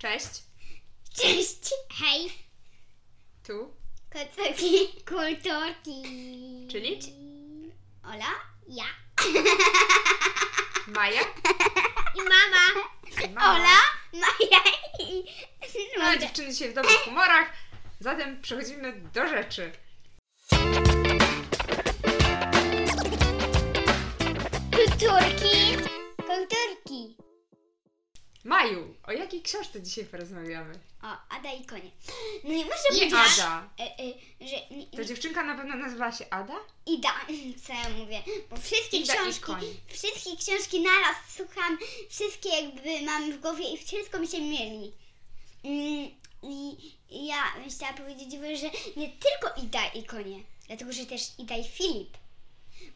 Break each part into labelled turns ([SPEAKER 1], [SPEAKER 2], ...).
[SPEAKER 1] Cześć.
[SPEAKER 2] Cześć! Hej!
[SPEAKER 1] Tu.
[SPEAKER 2] Kocoki, kulturki.
[SPEAKER 1] Czyli?
[SPEAKER 2] Ola, ja
[SPEAKER 1] Maja.
[SPEAKER 2] i mama.
[SPEAKER 1] i Mama.
[SPEAKER 2] Ola, Maja i No
[SPEAKER 1] Ale
[SPEAKER 2] Ludzie.
[SPEAKER 1] dziewczyny dzisiaj w dobrych humorach. Zatem przechodzimy do rzeczy.
[SPEAKER 2] Kulturki. Kulturki.
[SPEAKER 1] Maju, o jakiej książce dzisiaj porozmawiamy?
[SPEAKER 2] O, Ada i konie. No i
[SPEAKER 1] I
[SPEAKER 2] muszę powiedzieć,
[SPEAKER 1] Ada.
[SPEAKER 2] e, e, że i-
[SPEAKER 1] Ta dziewczynka na pewno nazywała się Ada?
[SPEAKER 2] Ida, co ja mówię, bo wszystkie
[SPEAKER 1] Ida i
[SPEAKER 2] książki,
[SPEAKER 1] koń.
[SPEAKER 2] wszystkie książki naraz słucham, wszystkie jakby mam w głowie i wszystko mi się mieli. Mm, I i ja chciałam powiedzieć, wam, że nie tylko Ida i konie, dlatego że też Ida i Filip.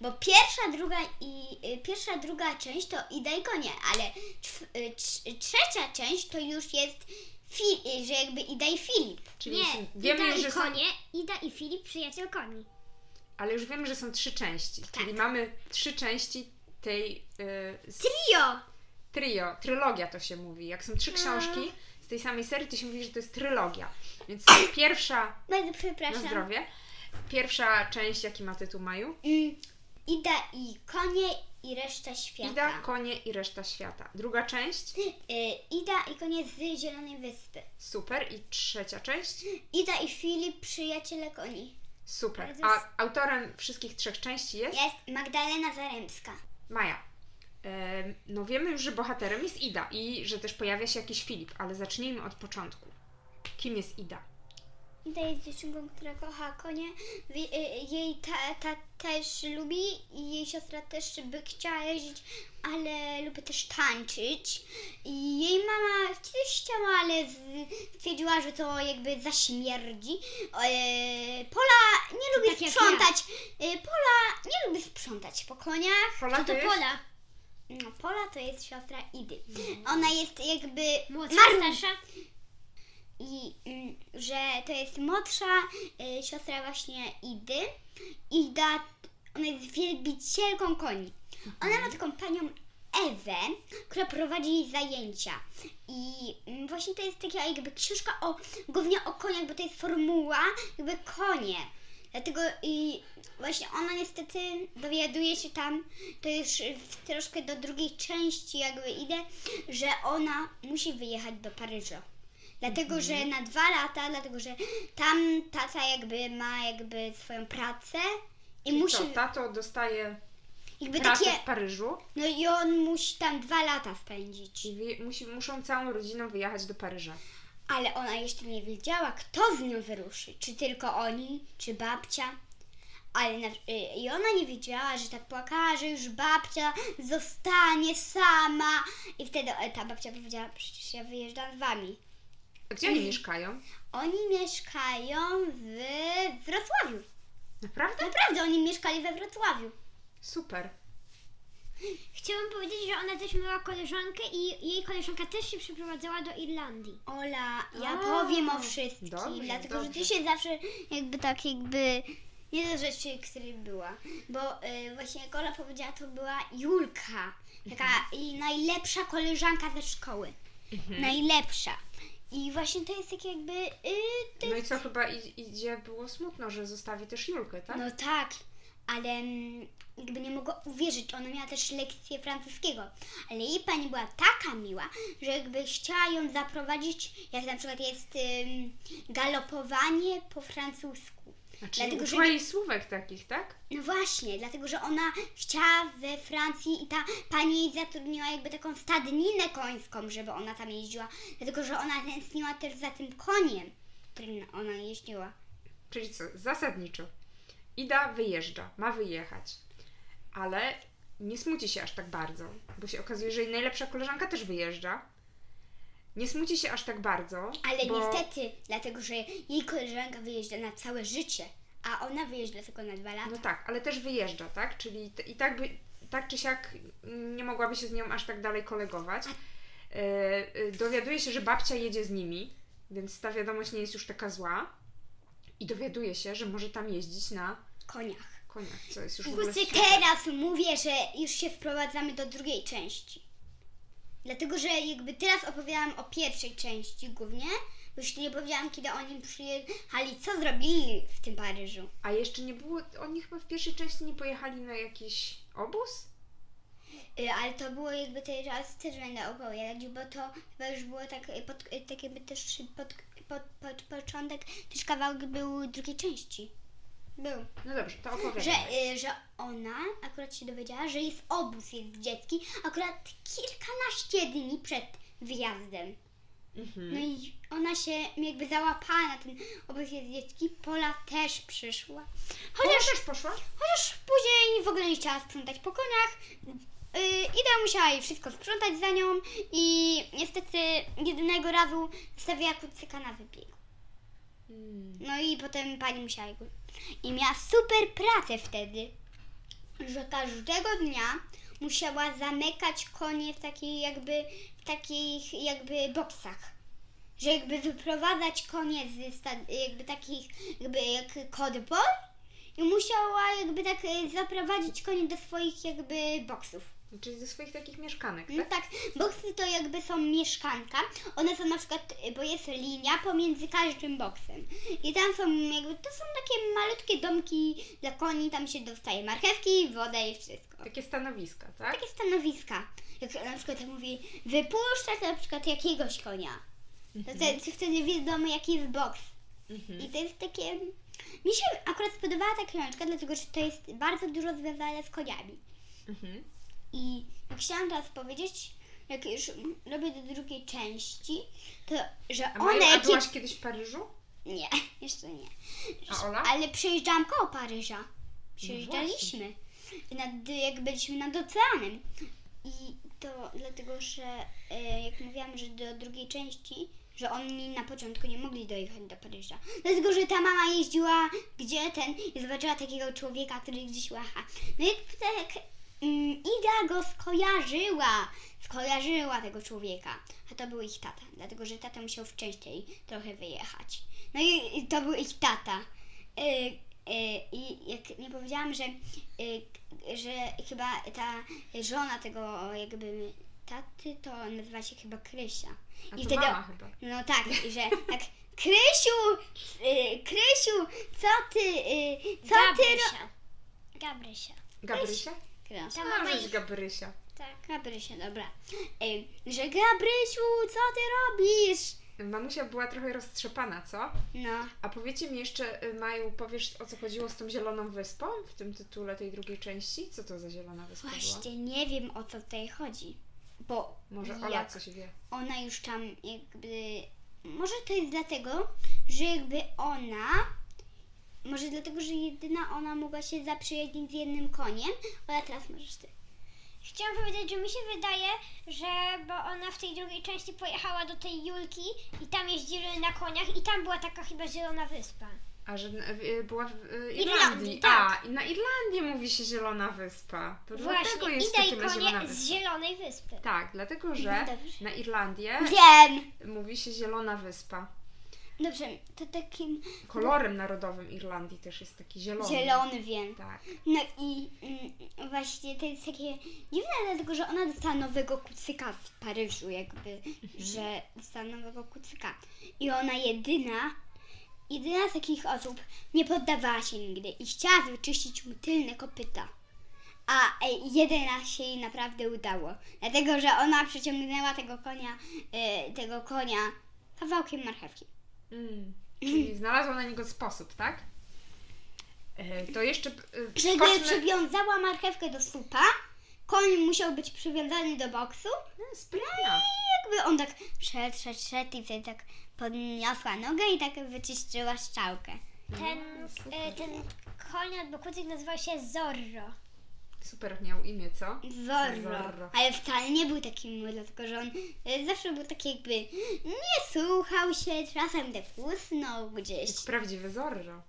[SPEAKER 2] Bo pierwsza, druga i y, pierwsza, druga część to Ida i konie, ale czw, y, trz- trzecia część to już jest fi, y, że jakby Ida i Filip.
[SPEAKER 1] Czyli są- wiemy już, że są,
[SPEAKER 2] Ida i Filip, przyjaciel koni.
[SPEAKER 1] ale już wiemy, że są trzy części. Czyli mamy trzy części tej y, z-
[SPEAKER 2] Trio!
[SPEAKER 1] trio, trylogia to się mówi. Jak są trzy książki z tej samej serii, to się mówi, że to jest trylogia. Więc pierwsza,
[SPEAKER 2] Bardzo
[SPEAKER 1] na
[SPEAKER 2] przepraszam.
[SPEAKER 1] zdrowie, pierwsza część, jaki ma tytuł Maju?
[SPEAKER 2] Mm, Ida i konie i reszta świata.
[SPEAKER 1] Ida, konie i reszta świata. Druga część,
[SPEAKER 2] Y, Ida i konie z Zielonej Wyspy.
[SPEAKER 1] super. I trzecia część,
[SPEAKER 2] Ida i Filip, przyjaciele koni.
[SPEAKER 1] super.
[SPEAKER 2] Ale to jest-
[SPEAKER 1] A autorem wszystkich trzech części jest
[SPEAKER 2] Jest Magdalena Zaremska.
[SPEAKER 1] Maja. Em, No wiemy już, że bohaterem jest Ida i że też pojawia się jakiś Filip, ale zacznijmy od początku. Kim jest Ida?
[SPEAKER 2] Ida jest dziewczynką, która kocha konie. Wi- y, Jej ta, ta też lubi i jej siostra też by chciała jeździć, ale lubi też tańczyć. I jej mama też chciała, ale z- stwierdziła, że to jakby zaśmierdzi. E, Pola nie lubi
[SPEAKER 3] tak jak
[SPEAKER 2] sprzątać. E, Pola nie lubi sprzątać po koniach.
[SPEAKER 1] Pola
[SPEAKER 2] Co
[SPEAKER 1] to jest?
[SPEAKER 2] Pola? No, Pola to jest siostra Idy. Ona jest jakby
[SPEAKER 3] Mhm. Młodsza,
[SPEAKER 2] marudą
[SPEAKER 3] starsza?
[SPEAKER 2] i mm, że to jest młodsza y, siostra właśnie Idy. Ida, ona jest wielbicielką koni. Ona ma taką panią Ewę, która prowadzi jej zajęcia. I mm, właśnie to jest taka jakby książka o, głównie o koniach, bo to jest formuła jakby konie. Dlatego i właśnie ona niestety dowiaduje się tam, to już w, troszkę do drugiej części jakby idę, że ona musi wyjechać do Paryża. Dlatego, że
[SPEAKER 1] Mhm.
[SPEAKER 2] na dwa lata, dlatego, że tam tata jakby ma jakby swoją pracę i
[SPEAKER 1] I
[SPEAKER 2] musi
[SPEAKER 1] co, tato dostaje
[SPEAKER 2] jakby
[SPEAKER 1] pracę
[SPEAKER 2] takie,
[SPEAKER 1] w Paryżu
[SPEAKER 2] no i on musi tam dwa lata spędzić.
[SPEAKER 1] i wy- musi, muszą całą rodziną wyjechać do Paryża.
[SPEAKER 2] Ale ona jeszcze nie wiedziała, kto z nią wyruszy. Czy tylko oni, czy babcia. Ale na, y, i ona nie wiedziała, że tak płakała, że już babcia zostanie sama. I wtedy e, ta babcia powiedziała, przecież ja wyjeżdżam z wami.
[SPEAKER 1] A gdzie oni mieszkają?
[SPEAKER 2] Oni mieszkają w Wrocławiu.
[SPEAKER 1] Naprawdę?
[SPEAKER 2] Naprawdę, oni mieszkali we Wrocławiu.
[SPEAKER 1] Super.
[SPEAKER 3] Chciałam powiedzieć, że ona też miała koleżankę i jej koleżanka też się przeprowadzała do Irlandii.
[SPEAKER 2] Ola, ja
[SPEAKER 1] A,
[SPEAKER 2] powiem o wszystkim,
[SPEAKER 1] dobrze,
[SPEAKER 2] dlatego że ty
[SPEAKER 1] dobrze.
[SPEAKER 2] się zawsze jakby tak jakby nie do rzeczy, której była. Bo y, właśnie jak Ola powiedziała, to była Julka, taka
[SPEAKER 1] Mhm.
[SPEAKER 2] i najlepsza koleżanka ze szkoły. Najlepsza. I właśnie to jest tak jakby y, to
[SPEAKER 1] No i co, chyba i- idzie było smutno, że zostawi też Julkę, tak?
[SPEAKER 2] no tak, ale mm, jakby nie mogła uwierzyć, ona miała też lekcję francuskiego, ale jej pani była taka miła, że jakby chciała ją zaprowadzić, jak na przykład jest ym, galopowanie po francusku.
[SPEAKER 1] A czyli
[SPEAKER 2] dlatego, że
[SPEAKER 1] uczyła
[SPEAKER 2] nie-
[SPEAKER 1] Znaczy, jej słówek takich, tak?
[SPEAKER 2] No właśnie, dlatego że ona chciała we Francji i ta pani jej zatrudniła jakby taką stadninę końską, żeby ona tam jeździła, dlatego że ona tęskniła też za tym koniem, którym ona jeździła.
[SPEAKER 1] Czyli co, zasadniczo. Ida wyjeżdża, ma wyjechać, ale nie smuci się aż tak bardzo, bo się okazuje, że jej najlepsza koleżanka też wyjeżdża. Nie smuci się aż tak bardzo.
[SPEAKER 2] Ale
[SPEAKER 1] bo...
[SPEAKER 2] niestety, dlatego że jej koleżanka wyjeżdża na całe życie, a ona wyjeżdża tylko na dwa lata.
[SPEAKER 1] No tak, ale też wyjeżdża, tak? Czyli t- i tak, by, tak czy siak mm, nie mogłaby się z nią aż tak dalej kolegować. E, e, dowiaduje się, że babcia jedzie z nimi, więc ta wiadomość nie jest już taka zła. I dowiaduje się, że może tam jeździć na
[SPEAKER 2] Koniach.
[SPEAKER 1] koniach, co jest już w ogóle
[SPEAKER 2] Teraz mówię, że już się wprowadzamy do drugiej części. Dlatego, że jakby teraz opowiadałam o pierwszej części głównie, bo jeszcze nie powiedziałam, kiedy oni przyjechali, co zrobili w tym Paryżu.
[SPEAKER 1] A jeszcze nie było, oni chyba w pierwszej części nie pojechali na jakiś obóz?
[SPEAKER 2] Y, Ale to było jakby teraz też będę opowiadać, bo to chyba już było tak, y, pod, y, tak jakby też pod, pod, pod początek, też kawałek był drugiej części. Był.
[SPEAKER 1] No dobrze, to opowiadam.
[SPEAKER 2] Że, y, że ona akurat się dowiedziała, że jest obóz, jest dziecki, akurat kilkanaście dni przed wyjazdem.
[SPEAKER 1] Mhm.
[SPEAKER 2] No i ona się jakby załapała na ten obóz jest dziecki, Pola też przyszła. Chociaż,
[SPEAKER 1] Chociaż też poszła?
[SPEAKER 2] chociaż później w ogóle nie chciała sprzątać po koniach. Yy, Ida musiała jej wszystko sprzątać za nią i niestety jednego razu stawiała kucyka na wybiegu.
[SPEAKER 1] Mm.
[SPEAKER 2] No i potem pani musiała go. I miała super pracę wtedy, że każdego dnia musiała zamykać konie w takiej jakby w takich jakby boksach. Że jakby wyprowadzać konie z sta, jakby takich jakby jak kodbol i musiała jakby tak e, zaprowadzić konie do swoich jakby boksów.
[SPEAKER 1] Czyli ze swoich takich mieszkanek,
[SPEAKER 2] No
[SPEAKER 1] tak?
[SPEAKER 2] tak, boksy to jakby są mieszkanka. One są na przykład, y, bo jest linia pomiędzy każdym boksem. I tam są jakby, to są takie malutkie domki dla koni, tam się dostaje marchewki, wodę i wszystko.
[SPEAKER 1] Takie stanowiska, tak?
[SPEAKER 2] Takie stanowiska. Jak na przykład mówi, wypuszczać na przykład jakiegoś konia. To te, wtedy wiadomo jaki jest boks.
[SPEAKER 1] Mhm.
[SPEAKER 2] I to jest takie... Mi się akurat spodobała ta książka, dlatego że to jest bardzo dużo związane z koniami.
[SPEAKER 1] Mhm.
[SPEAKER 2] I jak chciałam teraz powiedzieć, jak już mm, robię do drugiej części, to że
[SPEAKER 1] A,
[SPEAKER 2] one
[SPEAKER 1] Maju, a
[SPEAKER 2] kiedy...
[SPEAKER 1] byłaś kiedyś w Paryżu?
[SPEAKER 2] Nie, jeszcze nie.
[SPEAKER 1] A Ola?
[SPEAKER 2] Ale przejeżdżałam koło Paryża. Przejeżdżaliśmy. Nad, jak byliśmy nad oceanem. I to dlatego, że e, jak mówiłam, że do drugiej części, że oni na początku nie mogli dojechać do Paryża. Dlatego, że ta mama jeździła gdzie ten i zobaczyła takiego człowieka, który gdzieś łacha. No i tak mm, Ida go skojarzyła. Skojarzyła tego człowieka. A to był ich tata. Dlatego, że tata musiał wcześniej trochę wyjechać. No i i to był ich tata. Y, y, I jak nie powiedziałam, że, y, k- że chyba ta żona tego jakby taty, to nazywa się chyba Krysia.
[SPEAKER 1] A
[SPEAKER 2] I
[SPEAKER 1] to
[SPEAKER 2] wtedy-
[SPEAKER 1] mama chyba.
[SPEAKER 2] No tak, i że tak Krysiu, y, Krysiu, co ty, y, co ty ro...
[SPEAKER 3] Gabrysia. Gabrysia.
[SPEAKER 1] Gabrysia?
[SPEAKER 2] Krysia.
[SPEAKER 3] Ta
[SPEAKER 1] A,
[SPEAKER 3] mama
[SPEAKER 1] żeś
[SPEAKER 3] ich...
[SPEAKER 1] Gabrysia.
[SPEAKER 3] Tak.
[SPEAKER 2] Gabrysia, dobra. Y, że Gabrysiu, co ty robisz?
[SPEAKER 1] Mamusia była trochę roztrzepana, co?
[SPEAKER 2] No,
[SPEAKER 1] A powiecie mi jeszcze, y, Maju, powiesz o co chodziło z tą Zieloną Wyspą w tym tytule tej drugiej części? Co to za Zielona Wyspa była?
[SPEAKER 2] właśnie nie wiem o co tutaj chodzi. Bo
[SPEAKER 1] Może
[SPEAKER 2] jak...
[SPEAKER 1] Ola coś wie.
[SPEAKER 2] ona już tam jakby. Może to jest dlatego, że jakby ona. Może dlatego, że jedyna ona mogła się zaprzyjaźnić z jednym koniem, ale teraz możesz ty.
[SPEAKER 3] Chciałam powiedzieć, że mi się wydaje, że bo ona w tej drugiej części pojechała do tej Julki i tam jeździli na koniach i tam była taka chyba zielona wyspa.
[SPEAKER 1] A że y, była w y, Irlandii.
[SPEAKER 3] Irlandii, tak.
[SPEAKER 1] A, i na Irlandii mówi się Zielona Wyspa. To dlatego
[SPEAKER 3] Właśnie,
[SPEAKER 1] jest
[SPEAKER 3] Ida i
[SPEAKER 1] tytule Zielona
[SPEAKER 3] konie z
[SPEAKER 1] Wyspa.
[SPEAKER 3] zielonej wyspy.
[SPEAKER 1] Tak, dlatego
[SPEAKER 2] No
[SPEAKER 1] że
[SPEAKER 2] dobrze.
[SPEAKER 1] na Irlandię
[SPEAKER 2] Wiem!
[SPEAKER 1] mówi się Zielona Wyspa.
[SPEAKER 2] Dobrze, to takim
[SPEAKER 1] Kolorem narodowym Irlandii też jest taki zielony.
[SPEAKER 2] zielony wiem.
[SPEAKER 1] Tak.
[SPEAKER 2] No i mm, właśnie to jest takie dziwne, dlatego że ona dostała nowego kucyka w Paryżu, jakby, że dostała nowego kucyka. I ona jedyna, jedyna z takich osób nie poddawała się nigdy i chciała wyczyścić mu tylne kopyta. A e, jeden raz się jej naprawdę udało, dlatego że ona przyciągnęła tego konia, e, tego konia kawałkiem marchewki.
[SPEAKER 1] Mm. Czyli znalazła na niego sposób, tak? E, To jeszcze e,
[SPEAKER 2] Że gdy
[SPEAKER 1] skoczmy...
[SPEAKER 2] przywiązała marchewkę do słupa, koń musiał być przywiązany do boksu
[SPEAKER 1] No, Sprytna.
[SPEAKER 2] jakby on tak szedł, szedł, szedł i wtedy tak podniosła nogę i tak wyczyściła strzałkę.
[SPEAKER 1] No,
[SPEAKER 3] Ten, e, ten koń albo kucyk nazywał się Zorro.
[SPEAKER 1] Super miał imię, co?
[SPEAKER 2] Zorro.
[SPEAKER 1] Zorro.
[SPEAKER 2] Ale wcale nie był taki miły, dlatego że on e, zawsze był taki jakby nie słuchał się, czasem tak usnął gdzieś.
[SPEAKER 1] Prawdziwy Zorro.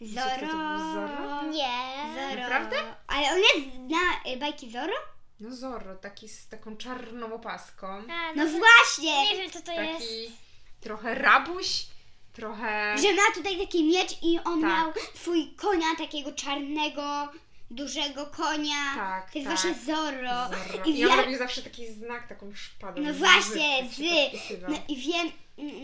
[SPEAKER 2] Zorro.
[SPEAKER 1] kto to był? Zorro?
[SPEAKER 3] Nie.
[SPEAKER 2] Zorro.
[SPEAKER 1] Naprawdę?
[SPEAKER 2] Ale on jest na e, bajki Zorro?
[SPEAKER 1] No Zorro, taki z taką czarną opaską.
[SPEAKER 3] A,
[SPEAKER 2] No
[SPEAKER 3] no,
[SPEAKER 2] właśnie!
[SPEAKER 3] nie wiem co to jest.
[SPEAKER 1] Taki trochę rabuś, trochę...
[SPEAKER 2] Że ma tutaj taki miecz i on
[SPEAKER 1] Tak.
[SPEAKER 2] miał swój konia takiego czarnego, dużego konia.
[SPEAKER 1] Tak,
[SPEAKER 2] to jest
[SPEAKER 1] tak.
[SPEAKER 2] wasze Zorro.
[SPEAKER 1] Zorro.
[SPEAKER 2] I
[SPEAKER 1] I on
[SPEAKER 2] wiem,
[SPEAKER 1] robił zawsze taki znak, taką szpadą.
[SPEAKER 2] no
[SPEAKER 1] z-
[SPEAKER 2] właśnie,
[SPEAKER 1] jak
[SPEAKER 2] z.
[SPEAKER 1] się podpisywał.
[SPEAKER 2] No i wiem,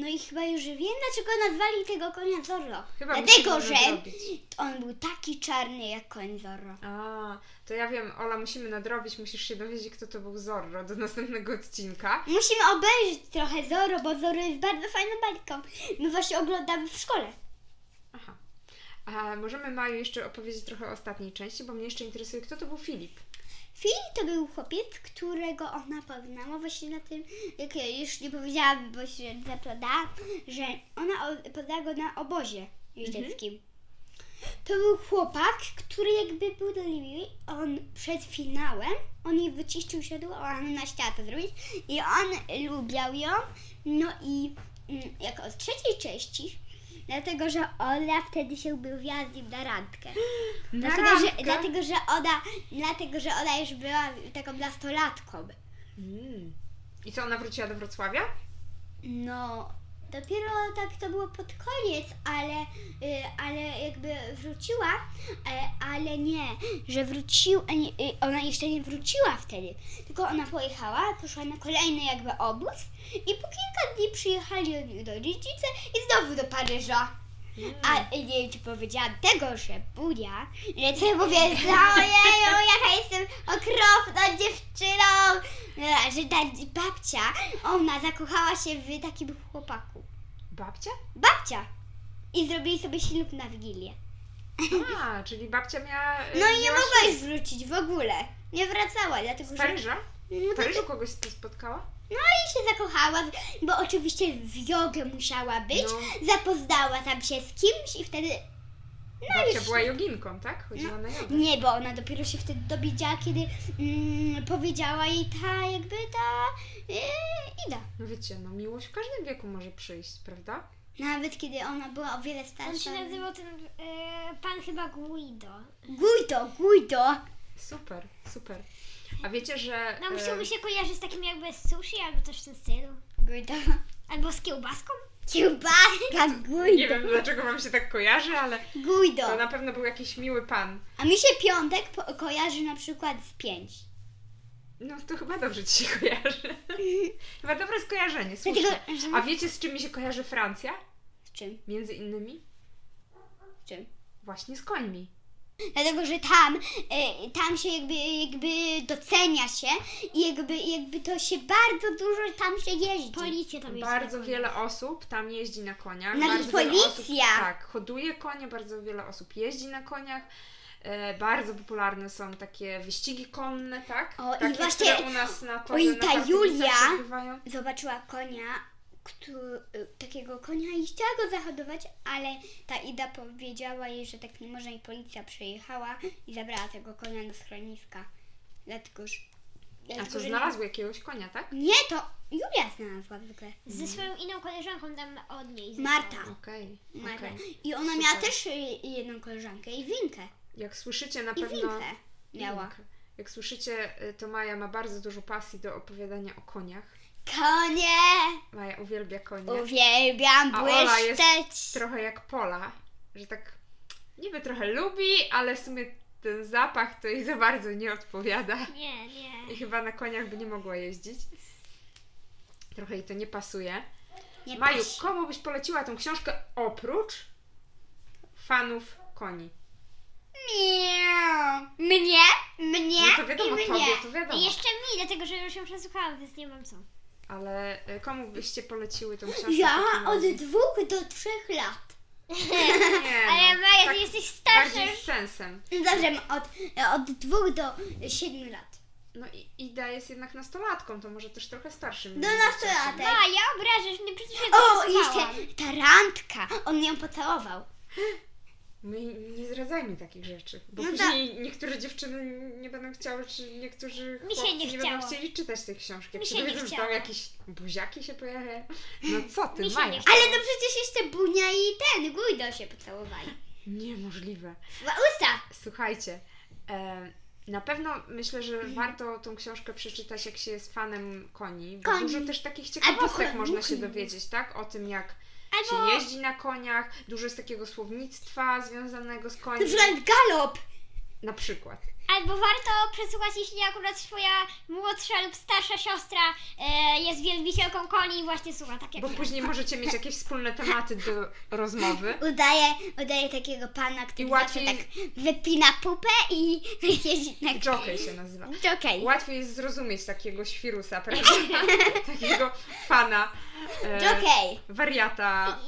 [SPEAKER 2] no i chyba już wiem, dlaczego nazwali tego konia Zorro.
[SPEAKER 1] Chyba
[SPEAKER 2] Dlatego,
[SPEAKER 1] musimy
[SPEAKER 2] że
[SPEAKER 1] nadrobić.
[SPEAKER 2] on był taki czarny jak koń Zorro.
[SPEAKER 1] A, to ja wiem, Ola, musimy nadrobić, musisz się dowiedzieć, kto to był Zorro do następnego odcinka.
[SPEAKER 2] Musimy obejrzeć trochę Zorro, bo Zorro jest bardzo fajną bajką. My właśnie oglądamy w szkole.
[SPEAKER 1] Aha. A możemy Maju jeszcze opowiedzieć trochę o ostatniej części, bo mnie jeszcze interesuje, kto to był Filip.
[SPEAKER 2] Filip to był chłopiec, którego ona poznała właśnie na tym, jak ja już nie powiedziałam, bo się zaplada, że ona o- poznała go na obozie jeździeckim. To był chłopak, który jakby był do Libii, on przed finałem, on jej wyciścił siodło, a ona chciała to zrobić i on lubiał ją, no i mm, jako z trzeciej części, dlatego, że Ola wtedy się była z nim na randkę. Dlatego że, dlatego, że ona, dlatego, że ona już była taką nastolatką.
[SPEAKER 1] Mm. I co, ona wróciła do Wrocławia?
[SPEAKER 2] No, dopiero tak to było pod koniec, ale, y, ale jakby wróciła, e, ale nie, że wróciła, y, ona jeszcze nie wróciła wtedy, tylko ona pojechała, poszła na kolejny jakby obóz i po kilka dni przyjechali od nich do rodzice i znowu do Paryża.
[SPEAKER 1] Hmm.
[SPEAKER 2] A nie wiem, czy powiedziałam tego, że buja, że co ja mówię, że ojeju, jaka jestem okropną dziewczyną, E, że ta babcia, ona zakochała się w takim chłopaku.
[SPEAKER 1] Babcia?
[SPEAKER 2] Babcia! I zrobili sobie ślub na Wigilię.
[SPEAKER 1] A, czyli babcia miała. e,
[SPEAKER 2] No i nie
[SPEAKER 1] miała
[SPEAKER 2] mogła już wrócić w ogóle. Nie wracała, dlatego
[SPEAKER 1] Z
[SPEAKER 2] że...
[SPEAKER 1] Paryża?
[SPEAKER 2] No,
[SPEAKER 1] W
[SPEAKER 2] tak,
[SPEAKER 1] Paryżu kogoś spo- spotkała?
[SPEAKER 2] no i się zakochała, w- bo oczywiście w jogę musiała być.
[SPEAKER 1] No.
[SPEAKER 2] Zapoznała tam się z kimś i wtedy...
[SPEAKER 1] babcia
[SPEAKER 2] No już- No.
[SPEAKER 1] była joginką, tak? Chodziła na jogę.
[SPEAKER 2] Nie, bo ona dopiero się wtedy dowiedziała, kiedy mm, powiedziała jej ta jakby ta yy, Ida.
[SPEAKER 1] No wiecie, no miłość w każdym wieku może przyjść, prawda?
[SPEAKER 2] Nawet kiedy ona była o wiele
[SPEAKER 3] On się
[SPEAKER 2] starsza.
[SPEAKER 3] nazywał ten e, pan chyba Guido.
[SPEAKER 2] Guido, Guido!
[SPEAKER 1] Super, super. A wiecie, że.
[SPEAKER 3] No
[SPEAKER 1] e,
[SPEAKER 3] musiał mi się kojarzyć z takim jakby z sushi albo coś w tym stylu.
[SPEAKER 2] Guido.
[SPEAKER 3] Albo z kiełbaską.
[SPEAKER 2] Kiełbaska,
[SPEAKER 1] Nie
[SPEAKER 2] Guido.
[SPEAKER 1] wiem dlaczego wam się tak kojarzy, ale
[SPEAKER 2] Guido.
[SPEAKER 1] to na pewno był jakiś miły pan.
[SPEAKER 2] A mi się piątek po- kojarzy na przykład z pięć.
[SPEAKER 1] No to chyba dobrze ci się kojarzy. Chyba dobre skojarzenie, słuszne.
[SPEAKER 2] Dlatego, że-
[SPEAKER 1] A wiecie z czym mi się kojarzy Francja?
[SPEAKER 2] Z czym?
[SPEAKER 1] Między innymi?
[SPEAKER 2] Z czym?
[SPEAKER 1] Właśnie z końmi.
[SPEAKER 2] Dlatego, że tam, e, tam się jakby, jakby docenia się i jakby, jakby to się bardzo dużo tam się jeździ.
[SPEAKER 3] Policja tam jest.
[SPEAKER 1] Bardzo wiele osób tam jeździ na koniach.
[SPEAKER 2] Nawet
[SPEAKER 1] bardzo wiele
[SPEAKER 2] policja.
[SPEAKER 1] Osób, tak, hoduje konie, bardzo wiele osób jeździ na koniach. E, bardzo popularne są takie wyścigi konne, tak?
[SPEAKER 2] O, i
[SPEAKER 1] takie,
[SPEAKER 2] właśnie-
[SPEAKER 1] które u nas na torze,
[SPEAKER 2] i
[SPEAKER 1] na
[SPEAKER 2] ta
[SPEAKER 1] Katowicach
[SPEAKER 2] Julia-
[SPEAKER 1] się odbywają.
[SPEAKER 2] Zobaczyła konia, któ- y, takiego konia i chciała go zahodować, ale ta Ida powiedziała jej, że tak nie może i policja przyjechała i zabrała tego konia do schroniska. Dlatego, że...
[SPEAKER 1] A
[SPEAKER 2] dlatego,
[SPEAKER 1] co,
[SPEAKER 2] że-
[SPEAKER 1] znalazły jakiegoś konia, tak?
[SPEAKER 2] Nie, to Julia znalazła zwykle.
[SPEAKER 3] Ze swoją inną koleżanką tam od niej. została.
[SPEAKER 2] Marta.
[SPEAKER 1] Okej, okej.
[SPEAKER 2] Marta. I ona
[SPEAKER 1] Super.
[SPEAKER 2] miała też y, jedną koleżankę i winkę.
[SPEAKER 1] Jak słyszycie, na
[SPEAKER 2] I
[SPEAKER 1] pewno...
[SPEAKER 2] winkę miała.
[SPEAKER 1] Link. Jak słyszycie, y, to Maja ma bardzo dużo pasji do opowiadania o koniach.
[SPEAKER 2] Konie!
[SPEAKER 1] Maja uwielbia konie.
[SPEAKER 2] Uwielbiam
[SPEAKER 1] A Ola jest
[SPEAKER 2] błyszczeć!
[SPEAKER 1] Trochę jak Pola, że tak niby trochę lubi, ale w sumie ten zapach to jej za bardzo nie odpowiada.
[SPEAKER 3] Nie, nie.
[SPEAKER 1] I chyba na koniach by nie mogła jeździć. Trochę jej to nie pasuje.
[SPEAKER 2] Nie
[SPEAKER 1] Maju,
[SPEAKER 2] patrz.
[SPEAKER 1] komu byś poleciła tą książkę oprócz fanów koni?
[SPEAKER 2] Miau. Mnie, mnie
[SPEAKER 1] No to wiadomo,
[SPEAKER 2] i mnie.
[SPEAKER 1] tobie to
[SPEAKER 3] I
[SPEAKER 1] wiadomo.
[SPEAKER 3] jeszcze mi, dlatego że już ją przesłuchałam, więc nie mam co.
[SPEAKER 1] Ale y, komu byście poleciły tą książkę? w
[SPEAKER 2] Ja
[SPEAKER 1] takim
[SPEAKER 2] od
[SPEAKER 1] razie?
[SPEAKER 2] dwóch do trzech lat.
[SPEAKER 1] Nie,
[SPEAKER 3] Ale
[SPEAKER 1] no,
[SPEAKER 3] Maja,
[SPEAKER 1] tak
[SPEAKER 3] ty jesteś starsza
[SPEAKER 1] bardziej
[SPEAKER 3] już.
[SPEAKER 1] z sensem.
[SPEAKER 2] No Dobrze, od, e, od dwóch do siedmiu lat.
[SPEAKER 1] No i Ida jest jednak nastolatką, to może też trochę starszym.
[SPEAKER 2] Do nastolatek.
[SPEAKER 3] Maja, obrażasz mnie, przecież ja
[SPEAKER 2] O,
[SPEAKER 3] to
[SPEAKER 2] i
[SPEAKER 3] słuchałam.
[SPEAKER 2] jeszcze ta randka. On ją pocałował.
[SPEAKER 1] My nie zdradzajmy takich rzeczy, bo
[SPEAKER 2] No
[SPEAKER 3] tak.
[SPEAKER 1] później niektóre dziewczyny nie będą chciały, czy niektórzy
[SPEAKER 3] Mi się
[SPEAKER 1] chłopcy
[SPEAKER 3] nie
[SPEAKER 1] będą
[SPEAKER 3] chciało.
[SPEAKER 1] chcieli czytać tej książki.
[SPEAKER 3] Mi się
[SPEAKER 1] Przecież
[SPEAKER 3] nie
[SPEAKER 1] wiedzą, że
[SPEAKER 3] chciało.
[SPEAKER 1] tam jakieś buziaki się pojawiają. No co ty,
[SPEAKER 3] Mi się
[SPEAKER 1] Maja?
[SPEAKER 3] nie
[SPEAKER 2] Ale no przecież jeszcze Bunia i ten Guido się pocałowali.
[SPEAKER 1] Niemożliwe.
[SPEAKER 2] W usta.
[SPEAKER 1] Słuchajcie, e, na pewno myślę, że
[SPEAKER 3] Mhm.
[SPEAKER 1] warto tą książkę przeczytać, jak się jest fanem koni, bo
[SPEAKER 2] Koni.
[SPEAKER 1] dużo też takich
[SPEAKER 2] Albo
[SPEAKER 1] ciekawostek
[SPEAKER 2] koni.
[SPEAKER 1] można się dowiedzieć, tak? O tym, jak
[SPEAKER 3] Albo
[SPEAKER 1] się jeździ na koniach, dużo jest takiego słownictwa związanego z
[SPEAKER 2] Na
[SPEAKER 3] Znaczy-
[SPEAKER 1] koniem.
[SPEAKER 2] przykład galop.
[SPEAKER 1] Na przykład.
[SPEAKER 3] Albo warto przesłuchać, jeśli akurat twoja młodsza lub starsza siostra e, jest wielbicielką koni i właśnie słucha tak jak
[SPEAKER 1] Bo
[SPEAKER 3] ja.
[SPEAKER 1] później możecie mieć jakieś wspólne tematy do rozmowy.
[SPEAKER 2] Udaje, udaje takiego pana, który
[SPEAKER 1] I łatwiej-
[SPEAKER 2] zawsze tak wypina pupę i jeździ na
[SPEAKER 1] Jockey się nazywa.
[SPEAKER 2] Jockey.
[SPEAKER 1] Łatwiej jest zrozumieć takiego świrusa, prawda? takiego fana, e,
[SPEAKER 2] Jockey.
[SPEAKER 1] wariata,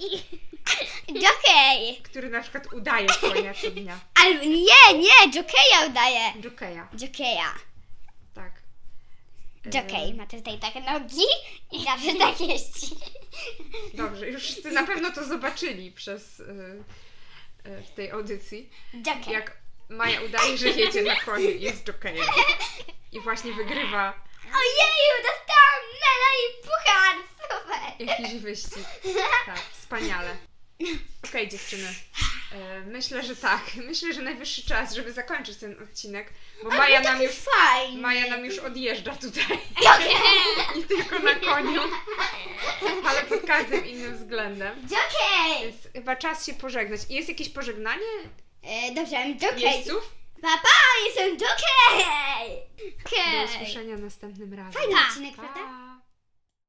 [SPEAKER 2] Jockey.
[SPEAKER 1] który na przykład udaje konia co dnia.
[SPEAKER 2] Albo nie, nie, Jockeya udaje.
[SPEAKER 1] Jockeya,
[SPEAKER 2] Jockeya.
[SPEAKER 1] tak. E,
[SPEAKER 2] Jockey ma tutaj takie nogi i zawsze tak jeździ.
[SPEAKER 1] Dobrze, już wszyscy na pewno to zobaczyli przez e, e, w tej audycji,
[SPEAKER 2] Jockey.
[SPEAKER 1] jak Maja udaje, że jedzie na koniu i jest jockeyem. I właśnie wygrywa
[SPEAKER 2] Ojeju, dostałam medal i puchar! Super!
[SPEAKER 1] jakiś wyścig. Tak, wspaniale. Okej, dziewczyny. E, Myślę, że tak. Myślę, że najwyższy czas, żeby zakończyć ten odcinek, bo Maja nam już
[SPEAKER 2] Fajnie.
[SPEAKER 1] Maja nam już odjeżdża tutaj. Nie tylko na koniu, ale pod każdym innym względem.
[SPEAKER 2] Jockey!
[SPEAKER 1] Więc chyba czas się pożegnać. I Jest jakieś pożegnanie
[SPEAKER 2] E, dobrze, I'm jockey.
[SPEAKER 1] jeźdźców?
[SPEAKER 2] Papa, jestem jockey!
[SPEAKER 1] Do
[SPEAKER 2] Okej.
[SPEAKER 1] usłyszenia następnym razem.
[SPEAKER 2] Fajny odcinek,
[SPEAKER 1] Pa.
[SPEAKER 2] prawda?